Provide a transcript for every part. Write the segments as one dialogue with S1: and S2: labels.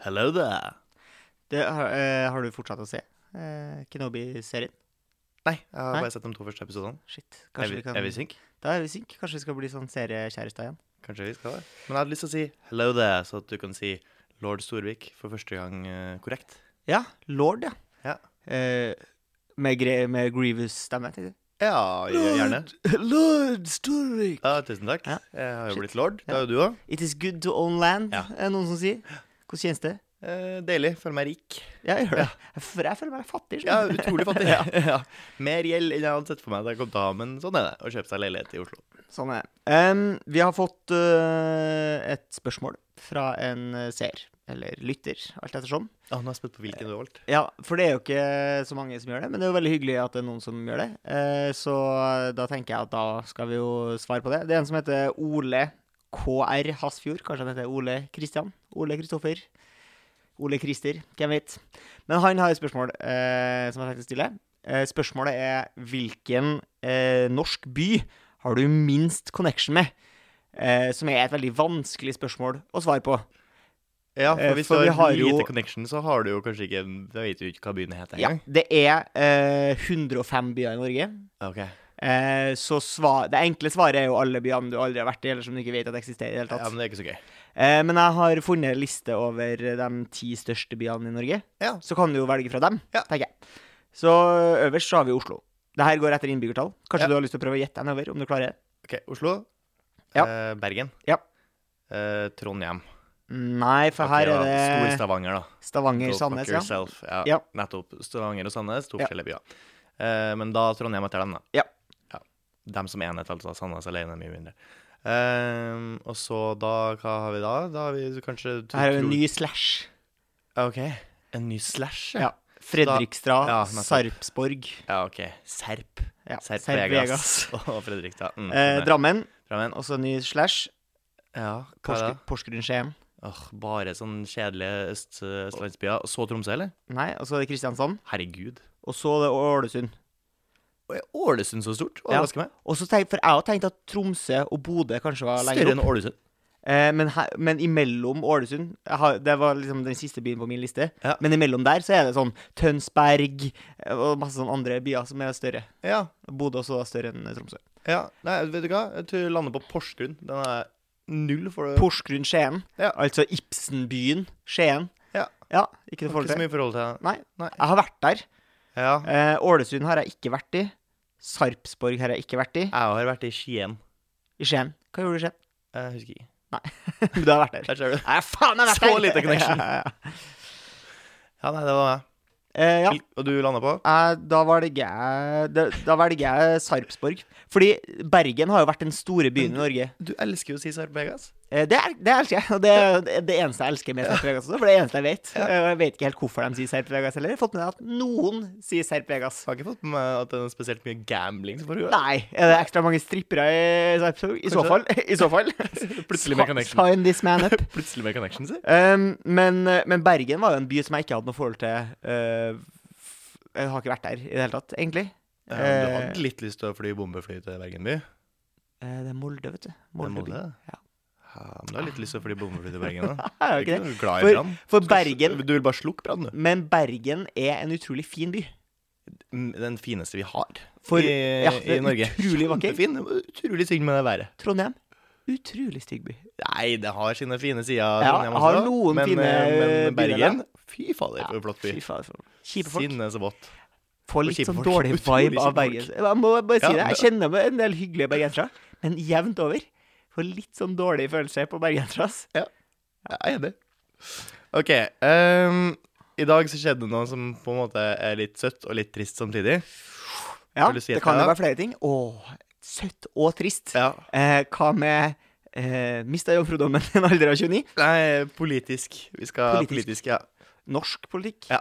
S1: Hello there.
S2: Det, har, eh, har du fortsatt å se eh, Kenobi-serien?
S1: Nei, jeg har
S2: Nei?
S1: bare sett de to første episodene.
S2: Shit.
S1: Er
S2: Kanskje
S1: vi,
S2: vi kan
S1: er vi synk?
S2: Da er vi synk. Kanskje vi skal bli sånn seriekjærester igjen.
S1: Kanskje vi skal det. Men jeg hadde lyst til å si hello there, så at du kan si lord Storvik for første gang eh, korrekt.
S2: Ja. Lord, ja.
S1: Ja.
S2: Eh, med, gre med Grievous-stemme. tenkte jeg.
S1: Ja, Eh, gjerne.
S2: Lord Storvik.
S1: Ja, tusen takk.
S2: Ja.
S1: Jeg har jo
S2: Shit.
S1: blitt lord. Det er
S2: Ja.
S1: jo du òg.
S2: It is good to own land,
S1: Ja.
S2: er det noen som sier. Hvordan kjennes det?
S1: Eh, deilig. Føler meg rik.
S2: Ja, jeg gjør det. Jeg, for jeg føler meg fattig.
S1: Ja,
S2: skjønner du.
S1: utrolig fattig. ja. Ja. Mer gjeld enn jeg hadde sett for meg da jeg kom til å ha, men sånn er det. Å kjøpe seg leilighet i Oslo.
S2: Sånn er det. Em, vi har fått eh, et spørsmål fra en eh, seer, eller lytter, alt ettersom.
S1: Ah, nå er jeg spent på hvilken du har valgt.
S2: Ja, for det er jo ikke så mange som gjør det, men det er jo veldig hyggelig at det er noen som gjør det. Eh, Så da tenker jeg at da skal vi jo svare på det. Det er en som heter Ole KR Hasfjord. Kanskje han heter Ole Kristian? Ole Kristoffer? Ole Krister? Hvem vet? Men han har et spørsmål eh, som jeg tenkte å stille. Eh, spørsmålet er hvilken eh, norsk by har du minst connection med? Eh, som er et veldig vanskelig spørsmål å svare på.
S1: Ja,
S2: Eh,
S1: for hvis
S2: for
S1: du
S2: vi
S1: har
S2: har
S1: lite
S2: jo-
S1: connection, så har du jo kanskje ikke Da vet du ikke hva byen heter
S2: Ja,
S1: engang.
S2: det er eh, 105 byer i Norge.
S1: Ok.
S2: Eh, så sva- det enkle svaret er jo alle byene du aldri har vært i, eller som du ikke vet at eksisterer i det hele
S1: Ja,
S2: tatt.
S1: men det er ikke så gøy.
S2: Eh, men jeg har funnet en liste over de ti største byene i Norge.
S1: Ja.
S2: Så kan du jo velge fra dem,
S1: Ja.
S2: tenker jeg. Så øverst så har vi Oslo. Det her går etter innbyggertall. Kanskje
S1: Ja.
S2: du har lyst til å prøve å gjette deg nedover, om du klarer det?
S1: Ok, Oslo.
S2: Ja.
S1: Eh, Bergen.
S2: Ja.
S1: Eh, Trondheim.
S2: Nei, for
S1: Ok,
S2: her
S1: da.
S2: er det
S1: Stor-Stavanger, da. Go fuck
S2: Stavanger-Sandnes, ja.
S1: yourself. Ja.
S2: Ja.
S1: Nettopp. Stavanger og Sandnes, to
S2: Ja.
S1: forskjellige byer. Eh, men da Trondheim etter dem, da.
S2: Ja.
S1: ja. Dem som enhet, altså. Sandnes alene er mye mindre. Eh, og så da, hva har vi da? Da har vi kanskje
S2: Her er det en ny slash.
S1: Ok, en ny slash?
S2: Ja.
S1: Da- ja,
S2: Fredrikstad,
S1: nettopp.
S2: Sarpsborg.
S1: ja ok. Serp.
S2: Ja.
S1: Serp,
S2: Serp Vegas.
S1: Vegas. og Fredrikstad. Mm,
S2: Eh,
S1: skjønner.
S2: Drammen,
S1: Drammen.
S2: også en ny slash.
S1: Ja, hva er
S2: Porsgrunn-
S1: det?
S2: Porsgrunn-Skien.
S1: Åh, bare sånn kjedelige øst, østlandsbyer. Og så Tromsø, eller?
S2: Nei, og så er det Kristiansand.
S1: Herregud.
S2: Og så er det Ålesund.
S1: Og er Ålesund så stort?
S2: Ja.
S1: Overrasker meg.
S2: Og så tenk, for jeg har tenkt at Tromsø og Bodø kanskje var lenger
S1: Større
S2: opp.
S1: enn Ålesund.
S2: Eh, men, her, men imellom Ålesund jeg har, Det var liksom den siste byen på min liste.
S1: Ja.
S2: Men imellom der så er det sånn Tønsberg eh, og masse sånne andre byer som er større.
S1: Ja,
S2: Bodø også er større enn Tromsø.
S1: Ja, nei, vet du hva? Jeg tror jeg lander på Porsgrunn. Den er null for det.
S2: Porsgrunn-Skien.
S1: Ja.
S2: Altså Ibsenbyen Skien.
S1: Ja.
S2: ja ikke noe
S1: Har
S2: forhold
S1: ikke så
S2: til.
S1: mye forhold til
S2: Nei.
S1: Nei.
S2: Jeg har vært der.
S1: Ja,
S2: Eh, Ålesund har jeg ikke vært i. Sarpsborg har jeg ikke vært i.
S1: jeg har vært i Skien.
S2: I Skien. Hva gjorde du i Skien?
S1: Jeg husker ikke.
S2: Du har vært der.
S1: Der ser du.
S2: Nei, faen, jeg har vært
S1: Så
S2: der!
S1: lite connection.
S2: Ja, ja, ja.
S1: Ja, nei, det var meg.
S2: Eh, ja.
S1: Og du landa på?
S2: Eh, Da velger jeg Da da velger jeg Sarpsborg. Fordi Bergen har jo vært den store byen i Norge.
S1: Du elsker jo å si Sarp Vegas.
S2: Eh, Det, er, det elsker jeg, og det er det- det eneste jeg elsker med Sarpsborg. For det er det eneste jeg vet. Eh, Og jeg vet ikke helt hvorfor de sier Sarpsborg heller. Jeg har Fått med meg at noen sier Sarpsborg.
S1: Jeg har ikke fått med meg at det er spesielt mye gambling som foregår.
S2: Nei, er det ekstra mange strippere i Sarpsborg? I så
S1: Kanskje.
S2: fall. I så fall.
S1: Plutselig med
S2: Sa-
S1: connection.
S2: Sign this man up.
S1: Plutselig med connection, si.
S2: Um, men, eh, men Bergen var jo en by som jeg ikke hadde noe forhold til. eh, f- jeg har ikke vært der i det hele tatt, egentlig.
S1: Ja, du
S2: Eh,
S1: hadde litt lyst til å fly bombefly til Bergen by. Det
S2: eh, det er Molde, vet du.
S1: er
S2: Molde by.
S1: Molde.
S2: Ja.
S1: Ja, men du har litt lyst til å fly bombefly til Bergen, da.
S2: Jeg
S1: Du
S2: er
S1: er
S2: jo
S1: ikke
S2: ikke det.
S1: noe glad i
S2: For,
S1: brann.
S2: for
S1: Du skal-
S2: Bergen
S1: Du vil bare slukke brann, du.
S2: Men Bergen er en utrolig fin by.
S1: Den fineste vi har
S2: For
S1: i,
S2: ja, det
S1: i
S2: er
S1: Norge.
S2: utrolig vakker.
S1: Kjempefin. Utrolig synd med det været.
S2: Trondheim utrolig stygg by.
S1: Nei, det har sine fine sider.
S2: Ja,
S1: Trondheim
S2: har
S1: også,
S2: noen
S1: men,
S2: fine
S1: eh, men
S2: bydeler.
S1: Bergen Fy fader, for en flott by.
S2: Fy faen, for- Kjipe folk.
S1: Sinne så vått.
S2: Får litt
S1: kjipe
S2: sånn
S1: folk.
S2: dårlig
S1: Utrolig
S2: vibe av
S1: kjipe
S2: Bergen. Jeg må bare si
S1: Ja,
S2: det. Jeg kjenner meg en del hyggelige bergensere, men jevnt over får litt sånn dårlig følelse på bergensere. ass.
S1: Jeg er enig. OK. ehm, I dag så skjedde det noe som på en måte er litt søtt og litt trist samtidig.
S2: Ja,
S1: Vil du si et
S2: det kan jo
S1: eller
S2: være flere ting. Åh, søtt og trist.
S1: Ja.
S2: Eh, hva med eh, mista jomfrudommen i en alder av 29?
S1: Nei, politisk. Vi skal
S2: Politisk.
S1: Politisk, ja.
S2: Norsk politikk.
S1: Ja.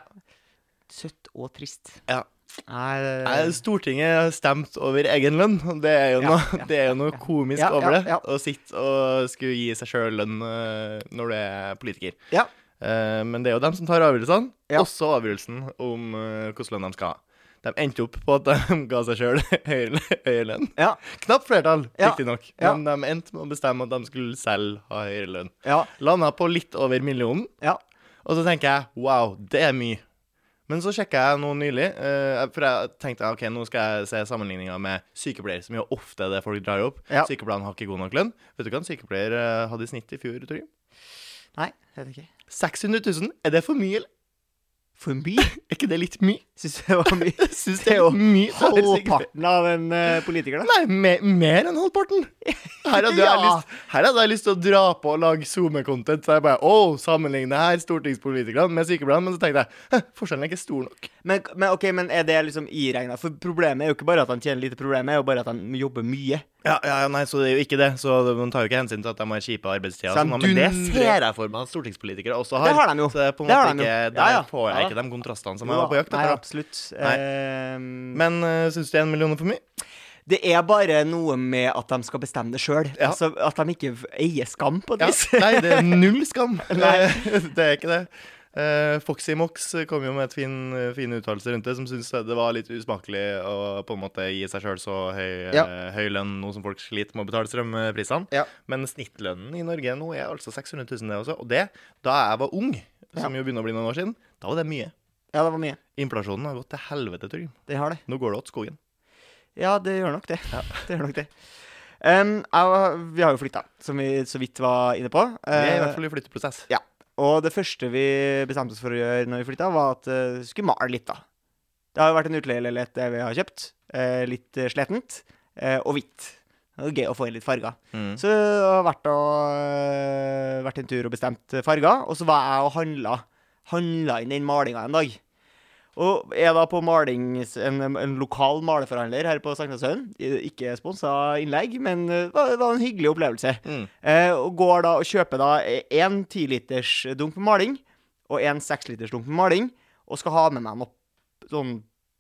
S2: Søtt og trist.
S1: Ja.
S2: Nei, det-
S1: Nei, Stortinget har stemt over egen lønn. og Det er jo
S2: Ja,
S1: noe,
S2: ja,
S1: det er jo noe komisk
S2: Ja, ja,
S1: over det.
S2: ja.
S1: Å sitte og skulle gi seg sjøl lønn eh, når du er politiker.
S2: Ja.
S1: Eh, men det er jo dem som tar avgjørelsene,
S2: Ja.
S1: også avgjørelsen om eh, hvordan lønn de skal ha. De endte opp på at de ga seg sjøl høyere høyere lønn.
S2: Ja.
S1: Knapt flertall,
S2: Ja,
S1: riktignok,
S2: ja.
S1: men de endte med å bestemme at de skulle selv ha høyere lønn.
S2: Ja,
S1: Landa på litt over millionen.
S2: ja.
S1: Og så tenker jeg wow, det er mye. Men så sjekka jeg nå nylig, eh, for jeg tenkte ok, nå skal jeg se sammenligninga med sykepleier, som jo ofte er det folk drar opp.
S2: Ja.
S1: Sykepleierne har ikke god nok lønn. Vet du hva en sykepleier eh, hadde i snitt i fjor? Tror jeg?
S2: Nei, vet ikke.
S1: 600 000? Er det for mye, eller?
S2: For mye?
S1: Er ikke det litt mye?
S2: Syns det var mye.
S1: Syns
S2: Det
S1: det er
S2: er jo
S1: litt mye. for en sykepleier.
S2: Halvparten av en eh, politiker, da.
S1: Nei, mer, mer enn halvparten. Her hadde, jeg
S2: Ja.
S1: lyst, her hadde jeg lyst til å dra på og lage SoMe-content. Så jeg bare Å, sammenligne her stortingspolitikerne med sykepleierne. Men så tenkte jeg «Hæ, forskjellen er ikke stor nok.
S2: Men, men ok, men er det liksom iregna? For problemet er jo ikke bare at han tjener lite, problemet er jo bare at han jobber mye.
S1: Ja, ja, ja, nei, så det er jo ikke det. Så man tar jo ikke hensyn til at de har kjipe arbeidstider. og
S2: Så de
S1: sånn, da, Men det
S2: dundrer-
S1: ser jeg for meg at stortingspolitikere også har.
S2: Det har de jo.
S1: Så det er på en
S2: Det har
S1: måte
S2: de jo.
S1: ikke, der
S2: Ja, ja.
S1: får jeg
S2: Ja,
S1: ikke de kontrastene som
S2: Jo
S1: jeg
S2: da,
S1: var på jakt
S2: Nei,
S1: etter. da.
S2: absolutt.
S1: Nei.
S2: Ehm,
S1: Men uh, syns du én million er for mye?
S2: det er bare noe med at de skal bestemme det sjøl.
S1: Ja.
S2: Altså, at de ikke v- eier skam, på et
S1: Ja.
S2: vis.
S1: Nei, det er null skam.
S2: Nei.
S1: det er ikke det. Eh, Foxy Mox kom jo med et fin, fin uttalelse rundt det, som syntes det var litt usmakelig å på en måte gi seg sjøl så høy, eh,
S2: Ja.
S1: høy lønn nå som folk sliter med å betale strømprisene.
S2: Ja.
S1: Men snittlønnen i Norge nå er altså 600 000, det også. Og det, da jeg var ung, som jo begynner å bli noen år siden, da var det mye.
S2: Ja, det var mye.
S1: Inflasjonen har gått til helvete, Torgrim.
S2: Det har det.
S1: Nå går det åt skogen.
S2: Ja, det gjør nok det. Det gjør nok det. Ehm, jeg, var- vi har jo flytta, som vi så vidt var inne på.
S1: Vi er i
S2: Eh,
S1: hvert fall i flytteprosess.
S2: Ja. Og det første vi bestemte oss for å gjøre når vi flytta, var at eh, vi skulle male litt, da. Det har jo vært en utleieleilighet det vi har kjøpt. eh, litt eh, sletent. eh, og hvitt. Det var gøy å få inn litt farger.
S1: Mm.
S2: Så det har vært, og, vært en tur og bestemt farger, og så var jeg og handla, handla inn den malinga en dag. Og er da på malings, en, en lokal maleforhandler her på Sagnashaugen. Ikke sponsa innlegg, men eh, det var, det var en hyggelig opplevelse.
S1: Mm.
S2: Eh, og går da og kjøper da én tiliters dunk med maling og én seksliters dunk med maling, og skal ha med meg noe sånn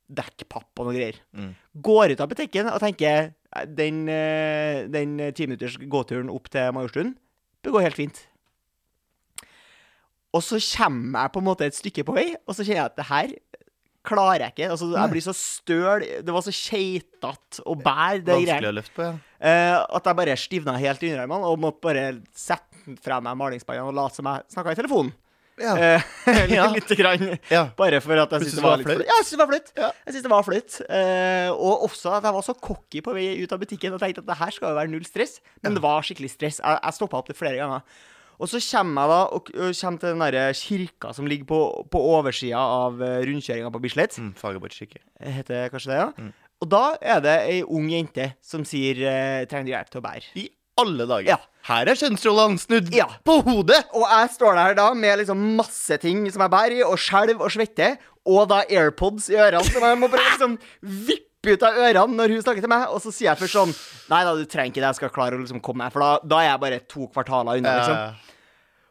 S2: dekkpapp og noe greier.
S1: Mm.
S2: Går ut av butikken og tenker eh, den, eh, den timinutters gåturen opp til Majorstuen bør gå helt fint. Og så kommer jeg på en måte et stykke på vei, og så kjenner jeg at det her klarer jeg ikke. Altså, jeg blir så støl. Det var så keitete å bære det greiene.
S1: Vanskelig å løfte på, ja.
S2: Eh, at jeg bare stivna helt i underarmene og måtte bare sette fra meg malingspannene og late som jeg snakka i telefonen.
S1: Ja.
S2: Eh, litt,
S1: Ja.
S2: lite grann.
S1: ja.
S2: Bare for at jeg
S1: Plutselig
S2: syntes det var
S1: var
S2: litt
S1: det flaut.
S2: flaut. Ja, jeg syntes det var flaut.
S1: Ja.
S2: Jeg synes det var flaut. Eh, og også at jeg var så cocky på vei ut av butikken og tenkte at det her skal jo være null stress. Men det var skikkelig stress. Jeg, jeg stoppa opp det flere ganger. Og så kommer jeg da og, og kommer til den derre kirka som ligger på, på oversida av rundkjøringa på Bislett
S1: Mm, Fagerborgkirke.
S2: heter kanskje det, ja. Og da er det ei ung jente som sier eh, 'trenger du hjelp til å bære'.
S1: I alle dager.
S2: Ja.
S1: Her er kjønnsrollene snudd
S2: Ja.
S1: på hodet!
S2: Og jeg står der da med liksom masse ting som jeg bærer i, og skjelv og svette, og da AirPods i ørene som jeg må prøve liksom vippe ut av ørene når hun snakker til meg, og så sier jeg først sånn Nei da, du trenger ikke det, jeg skal klare å liksom komme meg, for da, da er jeg bare to kvartaler unna, liksom.
S1: Eh,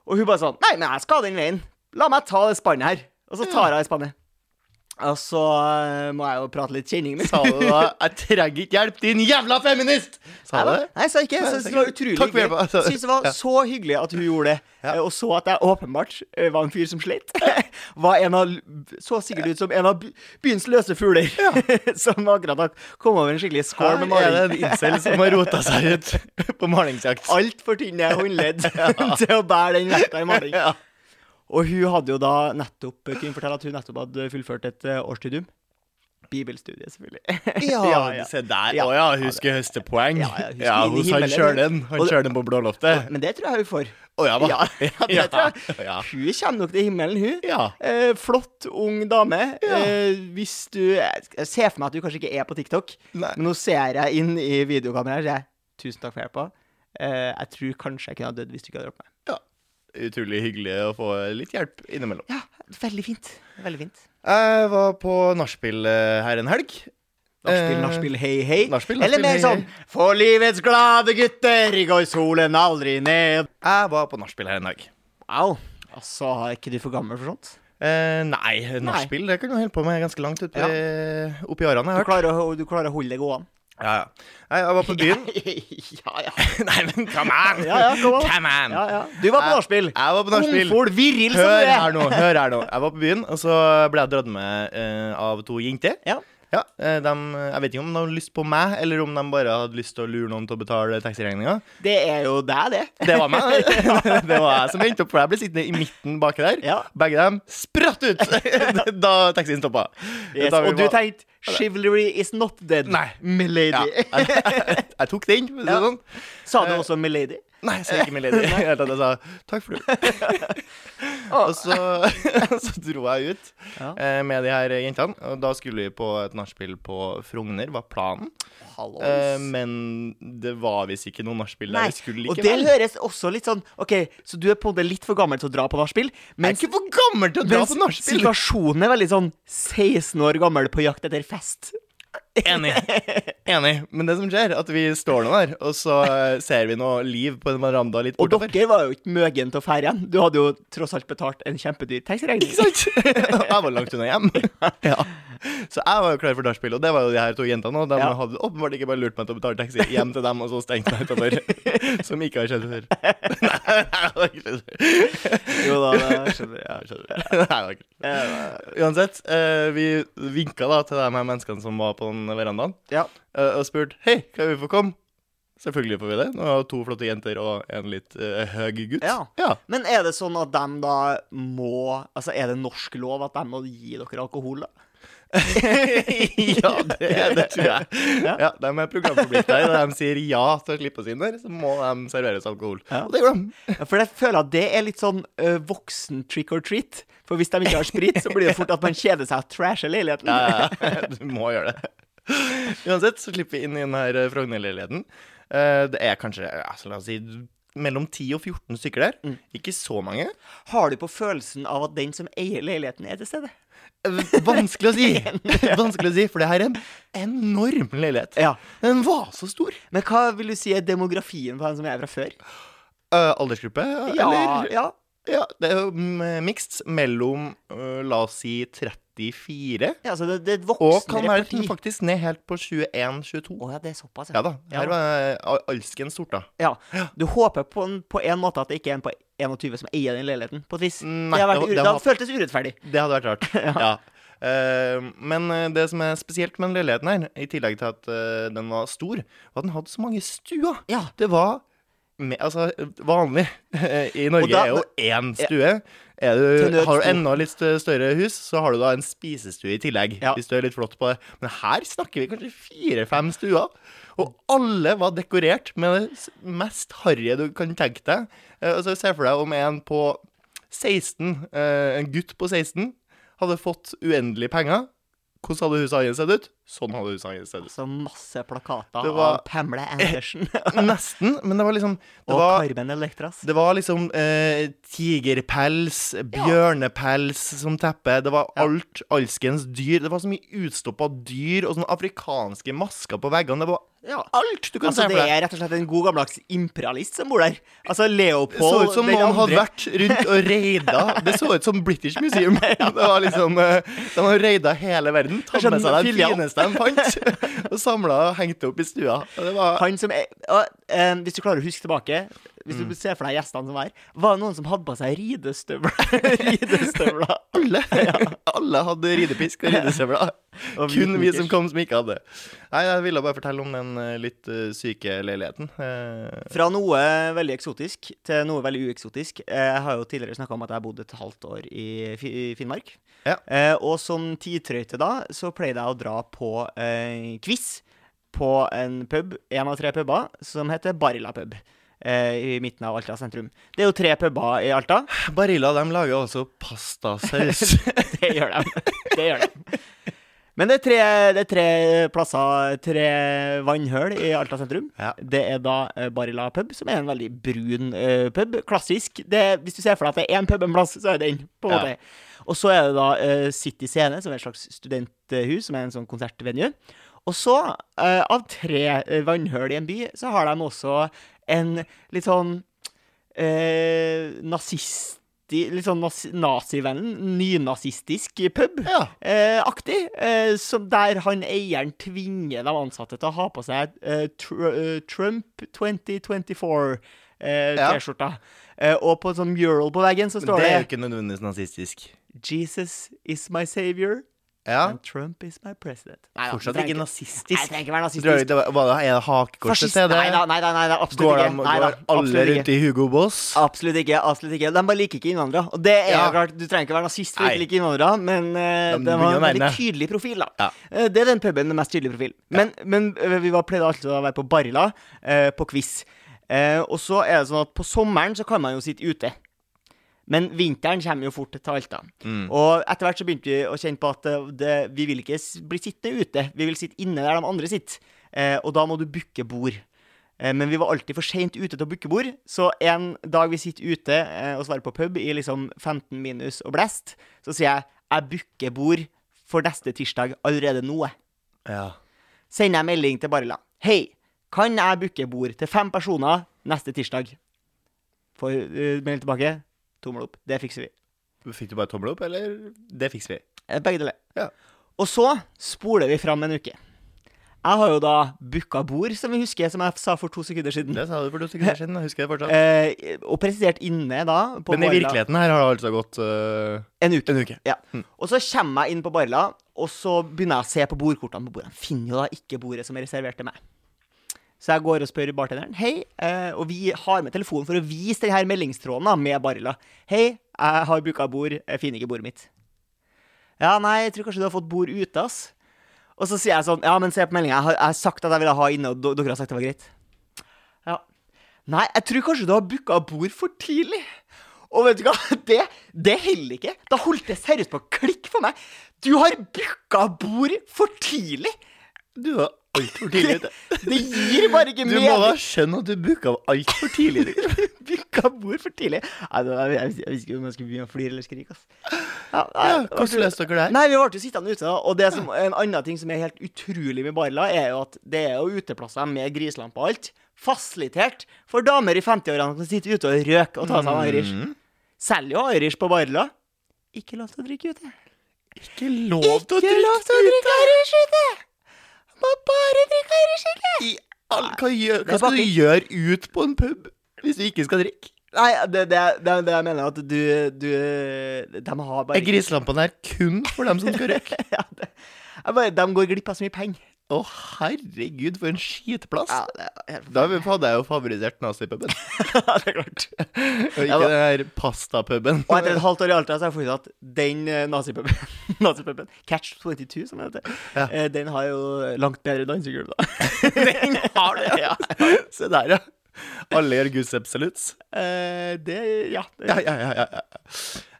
S2: Og hun bare sånn Nei, men jeg skal den veien. La meg ta det spannet her. Og så tar jeg det spannet. Og så eh, må jeg jo prate litt kjenning med
S1: sa du da 'jeg trenger ikke hjelp, din jævla feminist'? Sa du det?
S2: Nei, da- Nei, jeg sa ikke. Jeg
S1: Nei,
S2: syntes
S1: sa
S2: det var
S1: ikke.
S2: utrolig
S1: Takk for
S2: hyggelig.
S1: hjelpen.
S2: Jeg synes det var så hyggelig at hun gjorde det, eh, og så at jeg åpenbart eh, var en fyr som slet. Var en av, så sikkert ut som en av by- byens løse fugler som akkurat har kommet over en skikkelig skål med
S1: Her er det en
S2: maling.
S1: incel som har rota seg ut på malingsjakt.
S2: Altfor tynne håndledd til å bære den vekta i maling.
S1: Ja.
S2: Og hun hadde jo da nettopp kunne fortelle at hun nettopp hadde fullført et eh, årsstudium. Bibelstudiet, selvfølgelig. Ja, ja.
S1: se der.
S2: Ja.
S1: Å ja, hun skulle høste poeng.
S2: Ja, ja, hun skulle inn i
S1: hos han
S2: himmelen.
S1: Sjølen. Han
S2: Og-
S1: Sjølen på Blåloftet.
S2: Men det tror jeg hun får.
S1: Å ja, hva?
S2: Ja, ja, det tror jeg.
S1: Ja.
S2: Hun kommer nok til himmelen, hun.
S1: Ja.
S2: Eh, flott, ung dame.
S1: Ja.
S2: Eh, hvis du Jeg ser for meg at du kanskje ikke er på TikTok,
S1: Nei.
S2: men nå ser jeg inn i videokameraet og sier jeg, tusen takk for hjelpa. Eh, jeg tror kanskje jeg kunne ha dødd hvis du ikke hadde hjulpet meg.
S1: ja. Utrolig hyggelig å få litt hjelp innimellom.
S2: Ja, veldig fint. Veldig fint.
S1: Jeg var på nachspiel eh, her en helg.
S2: Nachspiel,
S1: Eh,
S2: nachspiel, hei, hei.
S1: nachspiel, nachspiel,
S2: Eller mer
S1: hei,
S2: sånn For livets glade gutter går solen aldri ned.
S1: Jeg var på nachspiel her en helg.
S2: Au. Altså, er ikke du for gammel for sånt?
S1: Eh, nei, nachspiel det kan du holde på med ganske langt oppi, oppi årene. Jeg,
S2: Du
S1: har hørt.
S2: klarer, å- du klarer å holde det gående.
S1: ja, ja. Nei, jeg var på byen.
S2: ja, ja.
S1: nei, men come on!
S2: Ja, ja, come on.
S1: Come on.
S2: Mm. ja, ja. Du var på
S1: Jeg-
S2: nachspiel.
S1: Jeg var på nachspiel.
S2: Ungfol, viril som
S1: Hør
S2: du er.
S1: her nå. hør her nå Jeg var på byen, og så ble jeg dratt med eh, av to jenter.
S2: Ja.
S1: Ja, eh, dem- jeg vet ikke om de hadde lyst på meg, eller om de bare hadde lyst til å lure noen til å betale taxiregninga.
S2: Det er jo deg, det.
S1: Det var meg. Det var jeg som endte opp, for jeg ble sittende i midten baki der.
S2: Ja.
S1: Begge dem spratt ut da taxien stoppa.
S2: Yes,
S1: Da vi
S2: og du
S1: var-
S2: tenkte 'Chivalry is not dead',
S1: Nei. Ja,
S2: milady.
S1: jeg, jeg, jeg tok den, for å si det
S2: Ja.
S1: sånn.
S2: Sa du også milady?
S1: Nei, jeg sa ikke milady. I det hele tatt, Jeg sa takk for det. og så, så dro jeg ut
S2: Ja.
S1: eh, med de her jentene. Og da skulle vi på et nachspiel på Frogner, var planen. Eh,
S2: Hallois.
S1: men det var visst ikke noe nachspiel der
S2: Ehm, Nei,
S1: vi skulle
S2: og det
S1: likevel.
S2: høres også litt sånn OK, så du er på en måte litt for gammel til å dra på nachspiel,
S1: Jeg er
S2: mens
S1: ikke for gammel til å dra
S2: Mens
S1: på nachspiel!
S2: situasjonen er veldig sånn 16 år gammel på jakt etter fest.
S1: Enig. Enig. Men det som skjer, at vi står nå der, og så eh, ser vi noe liv på en veranda litt
S2: Og
S1: bortover.
S2: dere var jo ikke møgen til å fære hjem. Du hadde jo tross alt betalt en kjempedyr taxiregning.
S1: Ikke sant? jeg var langt unna hjem. ja. Så jeg var jo klar for nachspiel, og det var jo de her to jentene òg. De
S2: Ja.
S1: hadde åpenbart ikke bare lurt meg til å betale taxi hjem til dem, og så stengt meg utover. Som ikke har skjedd før. Nei, det har ikke skjedd før.
S2: Jo da, det skjønner
S1: Nei,
S2: jeg.
S1: det har ikke skjedd før. Uansett, eh, vi vinka da til de her menneskene som var på den verandaen,
S2: Ja.
S1: eh, og spurte hei, kan vi få komme? Selvfølgelig får vi det. Nå har vi to flotte jenter og en litt eh, høy gutt.
S2: Ja.
S1: ja.
S2: Men er det sånn at de da må Altså, er det norsk lov at de må gi dere alkohol, da?
S1: ja, det, det tror jeg. Ja, De er programforplikta. Når de sier ja til å slippe oss inn der, så må de serveres alkohol.
S2: Ja.
S1: Og det gjorde de.
S2: Ja, For jeg føler at det er litt sånn ø, voksen trick or treat. For hvis de ikke har sprit, så blir det fort at man kjeder seg og trasher leiligheten.
S1: Ja, ja, Du må gjøre det. Uansett så slipper vi inn i denne Frogner-leiligheten. Eh, Det er kanskje ja, så la oss si, mellom 10 og 14 stykker der.
S2: Mm.
S1: Ikke så mange.
S2: Har du på følelsen av at den som eier leiligheten, er til stede?
S1: Eh, Vanskelig å si, Vanskelig å si, for det her er en enorm leilighet.
S2: Ja.
S1: Den var så stor.
S2: Men hva vil du si er demografien på han som er fra før?
S1: Eh, aldersgruppe, eller?
S2: ja.
S1: Ja, det er jo mm, mixed mellom, øh, la oss si, 34
S2: ja altså det, det er et
S1: og
S2: voksende
S1: kan være
S2: reperti.
S1: faktisk ned helt på 21-22.
S2: Å ja, det er såpass,
S1: Ja da.
S2: Ja.
S1: Her var eh, alskens sort, da.
S2: Ja. Du håper på en, på en måte at det ikke er en på 21 som eier den leiligheten, på et vis.
S1: Nei,
S2: det,
S1: det
S2: har vært,
S1: var-
S2: ure-
S1: det
S2: det
S1: var-
S2: hadde føltes urettferdig.
S1: Det hadde vært rart. ja. Eh, men eh, det som er spesielt med den leiligheten her, i tillegg til at eh, den var stor, var at den hadde så mange stuer.
S2: Ja.
S1: Det var me- altså, vanlig i Norge
S2: da-
S1: er jo én stue. Er
S2: Til
S1: du,
S2: nød
S1: har du
S2: to.
S1: enda litt stø- større hus, så har du da en spisestue i tillegg.
S2: Ja.
S1: Hvis du er litt flott på det. Men her snakker vi kanskje fire-fem stuer. Og alle var dekorert med det s- mest harry du kan tenke deg. Eh, Altså, Se for deg om en på 16, eh, en gutt på 16, hadde fått uendelig penger. Hvordan hadde huset hans sett ut? Sånn hadde huset hans sett ut.
S2: Så masse plakater
S1: Det var-
S2: av Pamela Andersen og
S1: Nesten, men det var liksom det var,
S2: Carmen Electras.
S1: Det var liksom eh, tigerpels, bjørnepels som teppe. Det var alt alskens dyr. Det var så mye utstoppa dyr og sånne afrikanske masker på veggene. Det var
S2: Ja.
S1: alt du kan se
S2: Altså, det
S1: for deg.
S2: er rett og slett en god gammeldags imperialist som bor der. Altså
S1: Det så
S2: Leopold
S1: ut som
S2: den
S1: noen hadde
S2: andre.
S1: vært rundt og raida. Det så ut som British Museum. Det var liksom, eh, De hadde raida hele verden, tatt med seg
S2: Skjønner,
S1: de
S2: filial.
S1: fineste de fant, og samla og hengte opp i stua. Og det var
S2: Han som er, og, eh, hvis du klarer å huske tilbake Hvis
S1: Mm.
S2: du ser for deg gjestene som var her, var det noen som hadde på seg ridestøvler? ridestøvler.
S1: alle. Alle hadde ridepisk og ridestøvler. Kun
S2: Og
S1: vi
S2: hvitnikkers.
S1: som kom, som ikke hadde. Nei, jeg ville bare fortelle om den eh, litt eh, syke leiligheten. Eh,
S2: Fra noe veldig eksotisk til noe veldig ueksotisk. Eh, Jeg har jo tidligere snakka om at jeg bodde et halvt år i Fi- i Finnmark.
S1: Ja.
S2: Eh, Og som tidtrøyte da, så pleide jeg å dra på eh, quiz på en pub, en av tre puber, som heter Barilla pub. eh, I midten av Alta sentrum. Det er jo tre puber i Alta.
S1: Barilla de lager også pastasaus.
S2: Det gjør de. Det gjør de. Men det er, tre, det er tre plasser, tre vannhøl i Alta sentrum.
S1: Ja.
S2: Det er da eh, Barilla pub, som er en veldig brun eh, pub. Klassisk. Det, hvis du ser for deg at det er én pub en plass, så er det den. på en
S1: Ja.
S2: måte. Og så er det da eh, City Scene, som er et slags studenthus, som er en sånn konsertvenue. Og så, eh, av tre eh, vannhøl i en by, så har de også en litt sånn eh, nazist... Litt sånn nazi- nazivennen, nynazistisk pub.
S1: Ja.
S2: Eh, aktig, eh, som der han eieren tvinger de ansatte til å ha på seg eh, tr eh, Trump 2024-T-skjorta.
S1: Ja.
S2: Eh, T-skjorta. eh, og på en sånn mural på veggen så
S1: Det
S2: står det,
S1: er jo ikke nødvendigvis nazistisk.
S2: 'Jesus is my savior,
S1: Ja.
S2: And Trump is my president. Nei, da,
S1: Fortsatt
S2: det
S1: ikke
S2: trenger Nei, det
S1: nazistisk.
S2: trenger ikke være
S1: Tror du
S2: nazistisk.
S1: det var, var det, er det hakekorset
S2: Fascist.
S1: til det?
S2: Nei da, nei da, nei da, absolutt
S1: Går,
S2: ikke.
S1: de,
S2: Nei da,
S1: går alle
S2: absolutt ikke.
S1: rundt i Hugo Boss?
S2: Absolutt ikke. absolutt ikke De bare liker ikke innvandrere. Og det er
S1: Ja.
S2: jo klart, Du trenger ikke være nazist for
S1: Nei.
S2: ikke å like innvandrere, men eh,
S1: De
S2: de har en
S1: begynner å
S2: veldig
S1: nærme.
S2: tydelig profil. da
S1: Ja.
S2: Eh, Det er den puben med mest tydelig profil. Men, men eh, vi var pleide alltid å være på Barilla, eh, på quiz. Eh, og så er det sånn at på sommeren så kan man jo sitte ute. Men vinteren kommer jo fort til Alta.
S1: Mm.
S2: Og etter hvert så begynte vi å kjenne på at eh, det, vi vil ikke s- bli sittende ute. Vi vil sitte inne der de andre sitter. Eh, og da må du booke bord. Eh, Men vi var alltid for seint ute til å booke bord. Så en dag vi sitter ute eh, og svarer på pub i liksom 15 minus og blest, så sier jeg jeg booker bord for neste tirsdag allerede nå. jeg.»
S1: Ja.
S2: Sender jeg melding til Barilla. Hei, kan jeg booke bord til fem personer neste tirsdag? Får eh, melding tilbake. Tommel opp. Det fikser vi.
S1: Fikk du bare tommel opp, eller? Det fikser vi.
S2: Eh, Begge deler.
S1: Ja.
S2: Og så spoler vi fram en uke. Jeg har jo da booka bord, som vi husker, som jeg sa for to sekunder siden.
S1: Det sa du for to sekunder siden, jeg husker det fortsatt.
S2: Eh, og presisert inne da på
S1: Men i
S2: Barilla
S1: virkeligheten Hm. her har det altså gått øh,
S2: en uke.
S1: en uke.
S2: Ja. Og så kommer jeg inn på Barilla, og så begynner jeg å se på bordkortene på bordet. Jeg finner jo da ikke bordet som er reservert til meg. Så jeg går og spør bartenderen. Hei, eh, og vi har med telefonen for å vise denne meldingstråden da, med Barilla. Hei, jeg har booka bord, jeg finner ikke bordet mitt. Ja, nei, jeg tror kanskje du har fått bord ute, ass. Og så sier jeg sånn, ja, men se på meldinga, jeg har- jeg har sagt at jeg ville ha inne, og d- dere har sagt det var greit. Ja. Nei, jeg tror kanskje du har booka bord for tidlig. Og vet du hva? Det, det heller ikke. Da holdt det seriøst på å klikke for meg. Du har booka bord for tidlig!
S1: Du var altfor tidlig
S2: Det,
S1: ute.
S2: det gir bare ikke
S1: Du må da
S2: mening.
S1: skjønne at du booka altfor tidlig. du.
S2: Booka bord for tidlig. Nei, det var, jeg, jeg visste ikke om jeg skulle begynne å flire eller skrike. ass. Ja, nei,
S1: Ja,
S2: det var
S1: hvordan løste dere det her?
S2: Nei, vi ble jo sittende ute, da. Og det som, en annen ting som er helt utrolig med Barla, er jo at det er jo uteplasser med grislamper og alt. Fasilitert for damer i 50-årene som sitter ute og røker og tar seg en
S1: Mm.
S2: Irish. Selger jo Irish på Barla. Ikke lov til å drikke ute.
S1: Ikke lov til å
S2: Ikke lov til å drikke Irish ute! Må bare drikke Irish, ikke?
S1: I all, hva, gjør,
S2: Det er
S1: hva skal
S2: bare-
S1: du gjøre ut på en pub hvis du ikke skal drikke?
S2: Nei, det, det, det, det jeg mener at du, du De har bare
S1: Er griselampene her kun for dem som skal røyke?
S2: ja, det, jeg bare, De går glipp av så mye penger.
S1: Å, herregud, for en skitplass.
S2: Ja, det er helt
S1: Da hadde jeg jo favorisert nazipuben,
S2: Ja, det er klart.
S1: og
S2: Ja,
S1: ikke
S2: da-
S1: den her pastapuben.
S2: Og etter et halvt år i Alta så har jeg funnet ut at den eh, nazipuben, nazipuben Catch 22, som den heter,
S1: Ja.
S2: eh, den har jo langt bedre dansegulv, da. den har det, ja.
S1: Se der, ja. Alle gjør Guds absoluts.
S2: Eh, det Ja. Det,
S1: Ja, ja, ja. ja, ja.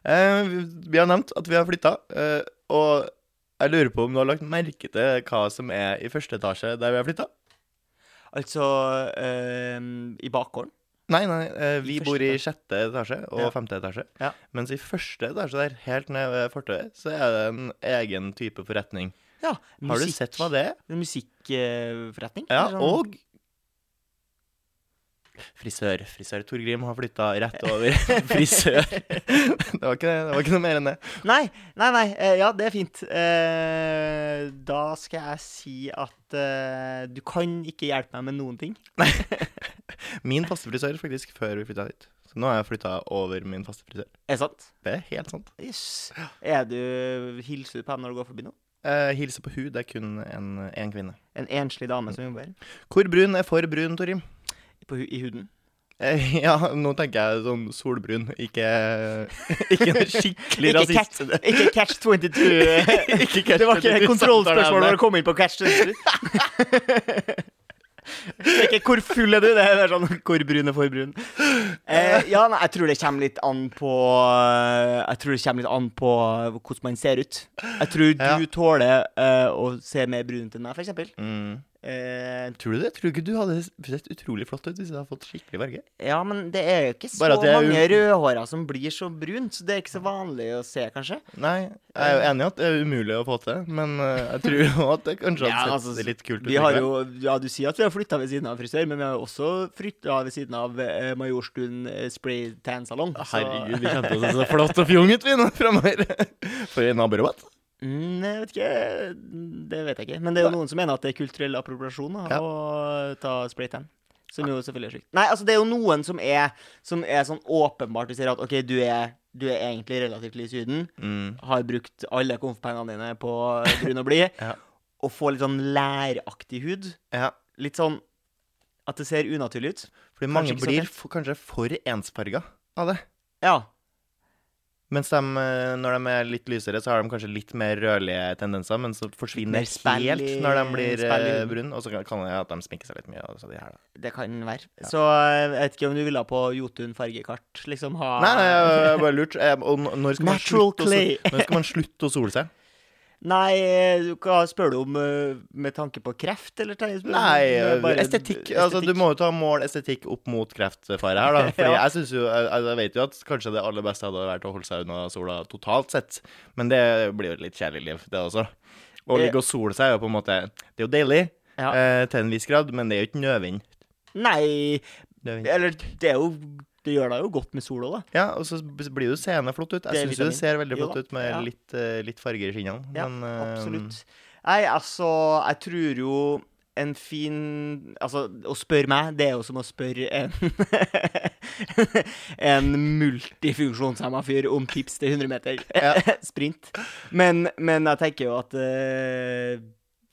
S1: Eh, vi- vi har nevnt at vi har flytta, eh, og jeg lurer på om du har lagt merke til hva som er i første etasje der vi har flytta?
S2: Altså eh, I bakgården.
S1: Nei, nei, eh, vi
S2: I første
S1: bor i
S2: etasje.
S1: sjette etasje og
S2: Ja.
S1: femte etasje.
S2: Ja.
S1: Mens i første etasje der, helt ned ved fortauet, så er det en egen type forretning.
S2: Ja,
S1: Har du sett hva det er?
S2: Musikkforretning. sånn-
S1: Ja, sånn og Frisør. Frisør Torgrim har flytta rett over. Frisør. Det var, ikke, det var ikke noe mer enn det.
S2: Nei, nei, nei. eh, Ja, det er fint. Eh, da skal jeg si at eh, du kan ikke hjelpe meg med noen ting.
S1: Min faste frisør, faktisk, før vi flytta hit. Så nå har jeg flytta over min faste frisør.
S2: Er det sant?
S1: Det er helt sant.
S2: Yes. Er du Hilser du på dem når du går forbi nå?
S1: Eh, hilse på hun, det er kun en, en kvinne.
S2: En enslig dame som jobber her.
S1: Hvor brun er for brun, Torim?
S2: På, hu- I huden.
S1: Eh, ja, nå tenker jeg sånn solbrun, ikke, ikke noe skikkelig
S2: Ikke
S1: rasist.
S2: catch, ikke catch 22.
S1: Ikke catch
S2: Det var ikke
S1: 22
S2: kontrollspørsmål
S1: samtalen
S2: når
S1: her.
S2: du kom inn på catch 22. Det er ikke 'hvor full er du?' Det er sånn 'hvor brun er for brun'. Eh, ja, nei, jeg tror det kommer litt an på eh, Jeg tror det kommer litt an på hvordan man ser ut. Jeg tror du
S1: Ja.
S2: tåler eh, å se mer brun ut enn meg, for eksempel.
S1: Mm.
S2: Eh,
S1: Tror du det? Tror du ikke du hadde sett utrolig flott ut hvis du hadde fått skikkelig farge?
S2: ja, men det er jo ikke så
S1: Bare at det er u-
S2: mange rødhåra som blir så brun, så det er ikke så vanlig å se, kanskje.
S1: Nei, jeg er jo enig i at det er umulig å få til, men eh, jeg tror jo at det kanskje hadde
S2: Ja,
S1: sett
S2: altså,
S1: litt kult ut.
S2: Vi har
S1: likevel.
S2: jo, ja, Du sier at vi har flytta ved siden av frisør, men vi har jo også flytta ved siden av eh, Majorstuen eh, spray tan salong. så-
S1: Herregud, vi kjente oss så flott og fjonget vi nå framover. For en naborabatt.
S2: Mm, jeg vet ikke, det vet jeg ikke. Men det er jo noen som mener at det er kulturell appropriasjon da,
S1: Ja.
S2: å ta spray tan. Som jo selvfølgelig er sjukt. Nei, altså det er jo noen som er, som er sånn åpenbart Du ser at OK, du er du er egentlig relativt lys i huden,
S1: Mm.
S2: har brukt alle konfpengene dine på brun og blid,
S1: Ja.
S2: og får litt sånn læraktig hud.
S1: Ja.
S2: Litt sånn at det ser unaturlig ut.
S1: Fordi mange
S2: ikke så
S1: blir
S2: tett.
S1: f kanskje for ensfarga av det.
S2: Ja.
S1: Mens de, eh, når de er litt lysere, så har de kanskje litt mer rødlige tendenser, men så forsvinner
S2: Mer spell i-
S1: helt når de blir eh,
S2: spell i huden.
S1: brune. Og så kan- kan det hende at de sminker seg litt mye. Og så de her, da.
S2: Det kan være. Så eh, jeg vet ikke om du ville ha på Jotun fargekart, liksom ha
S1: Nei, nei, jeg jeg bare lurt. Eh, Og n- når skal, man
S2: Natural
S1: slutte å,
S2: clay.
S1: sol- når skal man slutte å sole seg?
S2: Nei, du- hva spør du om eh, med tanke på kreft, eller? tar jeg- spør du om
S1: Nei,
S2: det er eh, bare
S1: estetikk. Altså, du
S2: estetikk?
S1: må jo ta mål estetikk opp mot kreftfare her, da. Fordi
S2: Ja.
S1: jeg synes jo, jeg, altså, jeg vet jo at kanskje det aller beste hadde vært å holde seg unna sola totalt sett, men det blir jo et litt kjedelig liv, det også. Å
S2: Eh.
S1: ligge og sole seg er jo på en måte Det er jo deilig
S2: Ja.
S1: eh, til en viss grad, men det er jo ikke nødvendig.
S2: Nei,
S1: Nødvendig.
S2: eller det er jo Det gjør deg jo godt med sola, da.
S1: Ja, og så blir jo seende flott ut.
S2: Det er
S1: Jeg syns jo det
S2: vitamin.
S1: ser veldig
S2: Jo
S1: flott
S2: da,
S1: ut med
S2: ja.
S1: litt, eh, litt farger i skinnene,
S2: Ja,
S1: men eh,
S2: Absolutt. Nei, altså, jeg tror jo en fin Altså, å spørre meg, det er jo som å spørre en En multifunksjonshemma fyr om tips til 100 meter sprint. Men, men jeg tenker jo at eh,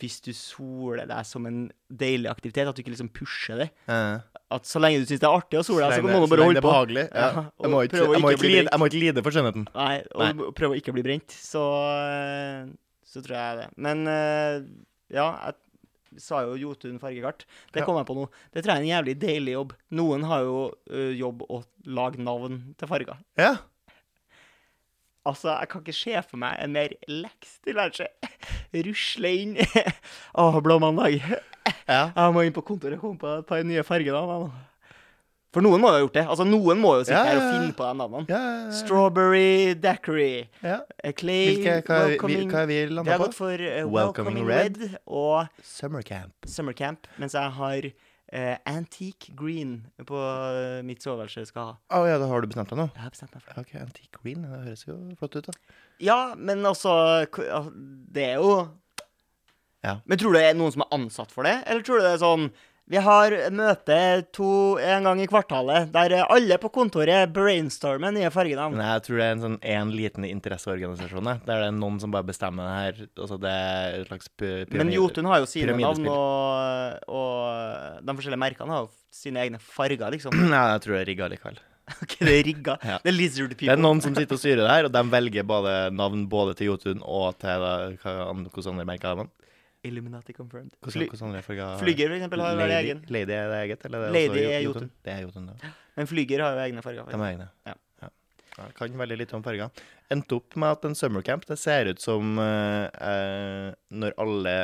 S2: hvis du soler deg som en deilig aktivitet, at du ikke liksom pusher det
S1: eh,
S2: At så lenge du syns det er artig å sole deg, så
S1: lenge-
S2: må du
S1: lenge det er
S2: altså, bare holde på.
S1: behagelig. Ja.
S2: Ja, og
S1: Jeg, må ikke,
S2: prøve å
S1: jeg, må
S2: ikke
S1: ikke
S2: bli
S1: lide,
S2: brent.
S1: jeg må ikke lide for skjønnheten.
S2: Nei,
S1: Nei.
S2: og b- prøve å ikke bli brent, så eh, Så tror jeg det. Men eh, ja, jeg sa jo Jotun fargekart. Det
S1: Ja.
S2: kom jeg på nå. Det tror jeg er en jævlig deilig jobb. Noen har jo eh, jobb å lage navn til farger.
S1: Ja.
S2: Altså, jeg kan ikke se for meg en mer leks tilværelse. Rusle inn Å, blå mandag.
S1: ja.
S2: Jeg må inn på kontoret og komme på ta inn nye farger, da. nå. For noen må jo ha gjort det. Altså, noen må jo sitte
S1: Ja,
S2: her og
S1: ja, ja.
S2: finne på de navnene.
S1: ja, ja, ja.
S2: Strawberry daiquiri.
S1: Ja.
S2: Eh, Clay
S1: Hvilke, hva, er vi- vi,
S2: welcoming-
S1: hva er vi
S2: Jeg har
S1: landa
S2: gått
S1: på?
S2: for eh,
S1: Welcoming
S2: Welcoming Red, og
S1: Summer camp.
S2: Summer Camp, mens jeg har eh, Antique Green på eh, mitt soveværelse skal ha.
S1: Å ja, da har du bestemt deg nå?
S2: Jeg har bestemt meg for det.
S1: Ok, Antique green, det høres jo flott ut, da.
S2: Ja, men altså k- al- Det er jo
S1: Ja.
S2: Men tror du det er noen som er ansatt for det, eller tror du det er sånn vi har møte to, en gang i kvartalet, der eh, alle på kontoret brainstormer nye fargenavn.
S1: Nei, jeg tror det er en sånn en liten interesseorganisasjon, jeg, der det er noen som bare bestemmer det her. Altså, det er et slags py-
S2: Men
S1: pyramide-
S2: Jotun har jo sine navn,
S1: pyramidespill.
S2: og, og de forskjellige merkene har jo sine egne farger, liksom.
S1: Nei, jeg tror det er rigga likevel.
S2: Ok, det er rigga.
S1: Ja.
S2: Det er lizard
S1: Det er
S2: people.
S1: noen som sitter og styrer det her, og de velger både navn både til Jotun og til da, hva an- hvordan andre merker har man.
S2: Illuminati confirmed.
S1: Hvordan,
S2: Fly,
S1: hvordan andre farger har-
S2: flyger, for eksempel, har jo
S1: Lady-
S2: egen.
S1: Lady er det eget, eller er det
S2: Lady
S1: også Jo-
S2: er Jotun.
S1: Det er Jotun, da.
S2: Men flyger har jo egne farger.
S1: De
S2: faktisk.
S1: er egne.
S2: Ja.
S1: Ja. Ja, jeg kan veldig litt om farger. Endte opp med at en summercamp det ser ut som eh, eh, når alle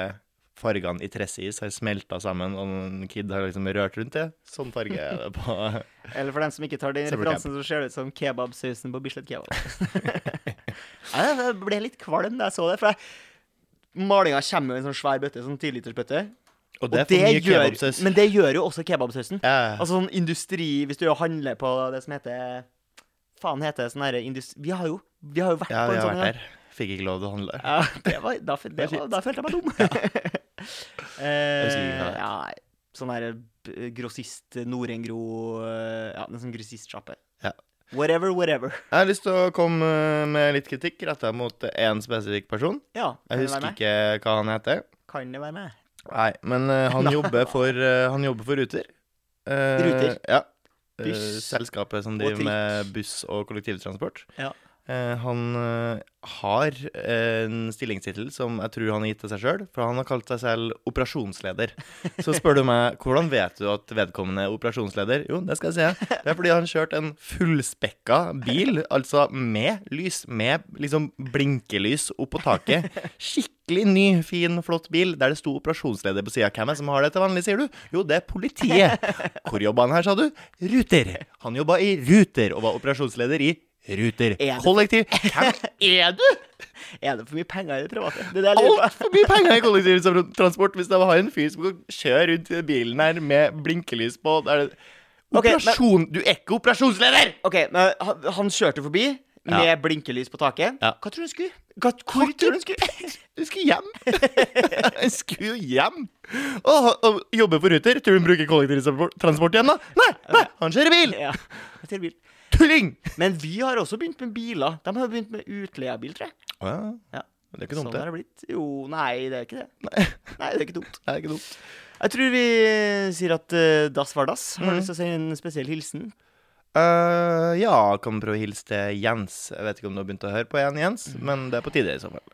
S1: fargene i tressis har smelta sammen, og en kid har liksom rørt rundt det. Sånn farge er det på
S2: Eller for dem som ikke tar den
S1: Summer
S2: referansen, så ser det ut som kebabsausen på Bislett Kebab. ja, jeg ble litt kvalm da jeg så det, for jeg, malinga kommer jo i en sånn svær bøtte, sånn tilitersbøtte.
S1: Og
S2: Og
S1: det
S2: det,
S1: er for mye
S2: gjør,
S1: kebabsaus.
S2: men det gjør jo også kebabsausen.
S1: Ja.
S2: Altså sånn industri Hvis du handler på det som heter Faen heter det sånn herre industri... Vi har jo, vi har jo vært
S1: Ja, vi
S2: på en
S1: har
S2: sånn en gang.
S1: vært der. Fikk ikke lov til å handle.
S2: Ja, det var, da, fe- det
S1: Det er
S2: var, da følte jeg meg dum. eh,
S1: husker ikke hva det het.
S2: ja, nei, sånn der b- grossist eh, Norengro eh, Ja, en sånn grossistsjappe.
S1: Ja.
S2: Whatever, whatever.
S1: Jeg har lyst til å komme eh, med litt kritikk retta mot én spesifikk person.
S2: Ja, kan
S1: Jeg
S2: det være
S1: husker
S2: meg?
S1: ikke hva han heter.
S2: Kan det være meg?
S1: Nei, men eh, han, jobber for, eh, han jobber for Ruter. Eh,
S2: Ruter?
S1: Ja. Eh,
S2: Buss
S1: selskapet som
S2: og
S1: driver
S2: trikk.
S1: med buss og kollektivtransport.
S2: Ja.
S1: Eh, han eh, har eh, en stillingstittel som jeg tror han har gitt til seg sjøl, for han har kalt seg selv operasjonsleder. Så spør du meg hvordan vet du at vedkommende er operasjonsleder? Jo, det skal jeg si. Det er fordi han kjørte en fullspekka bil, altså med lys, med liksom blinkelys opp på taket. Skikkelig ny, fin, flott bil der det sto operasjonsleder på sida. Hvem er det som har det til vanlig, sier du? Jo, det er politiet. Hvor jobba han her, sa du? Ruter. Han jobba i Ruter og var operasjonsleder i Ruter.
S2: Er det-
S1: Kollektiv. Hvem er du?
S2: Er det for mye penger i det private? Det er det jeg lurer på.
S1: Altfor mye penger i kollektivtransport hvis de har en fyr som kan kjøre rundt i bilen her med blinkelys på. Da er det
S2: Ok, men-
S1: Operasjon Du er ikke operasjonsleder!
S2: OK, men han, han kjørte forbi med
S1: Ja.
S2: blinkelys på taket.
S1: Ja.
S2: Hva tror du han skulle? Hva, hvor tror du han skulle?
S1: Du skulle hjem. Jeg skulle jo hjem. Og, og jobbe på Ruter. Tror du han bruker kollektivtransport igjen, da? Nei, nei, han kjører bil.
S2: ja, jeg tror bil.
S1: tulling!
S2: Men vi har også begynt med biler. De har begynt med utleiebil, tror jeg.
S1: Å ja.
S2: Ja.
S1: Det er ikke dumt,
S2: sånn
S1: det.
S2: har det blitt. Jo, nei, det er ikke det.
S1: Nei,
S2: Nei, det er ikke dumt.
S1: det er ikke dumt.
S2: Jeg tror vi sier at eh, dass var dass. Har
S1: Mhm.
S2: du lyst til å sende en spesiell hilsen?
S1: Eh, ja, kan prøve å hilse til Jens. Jeg vet ikke om du har begynt å høre på igjen, Jens, men det er på tide i så fall.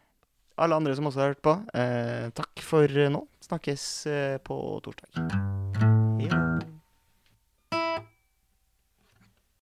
S2: Alle andre som også har hørt på, eh, takk for nå. Snakkes eh, på eh, torsdag.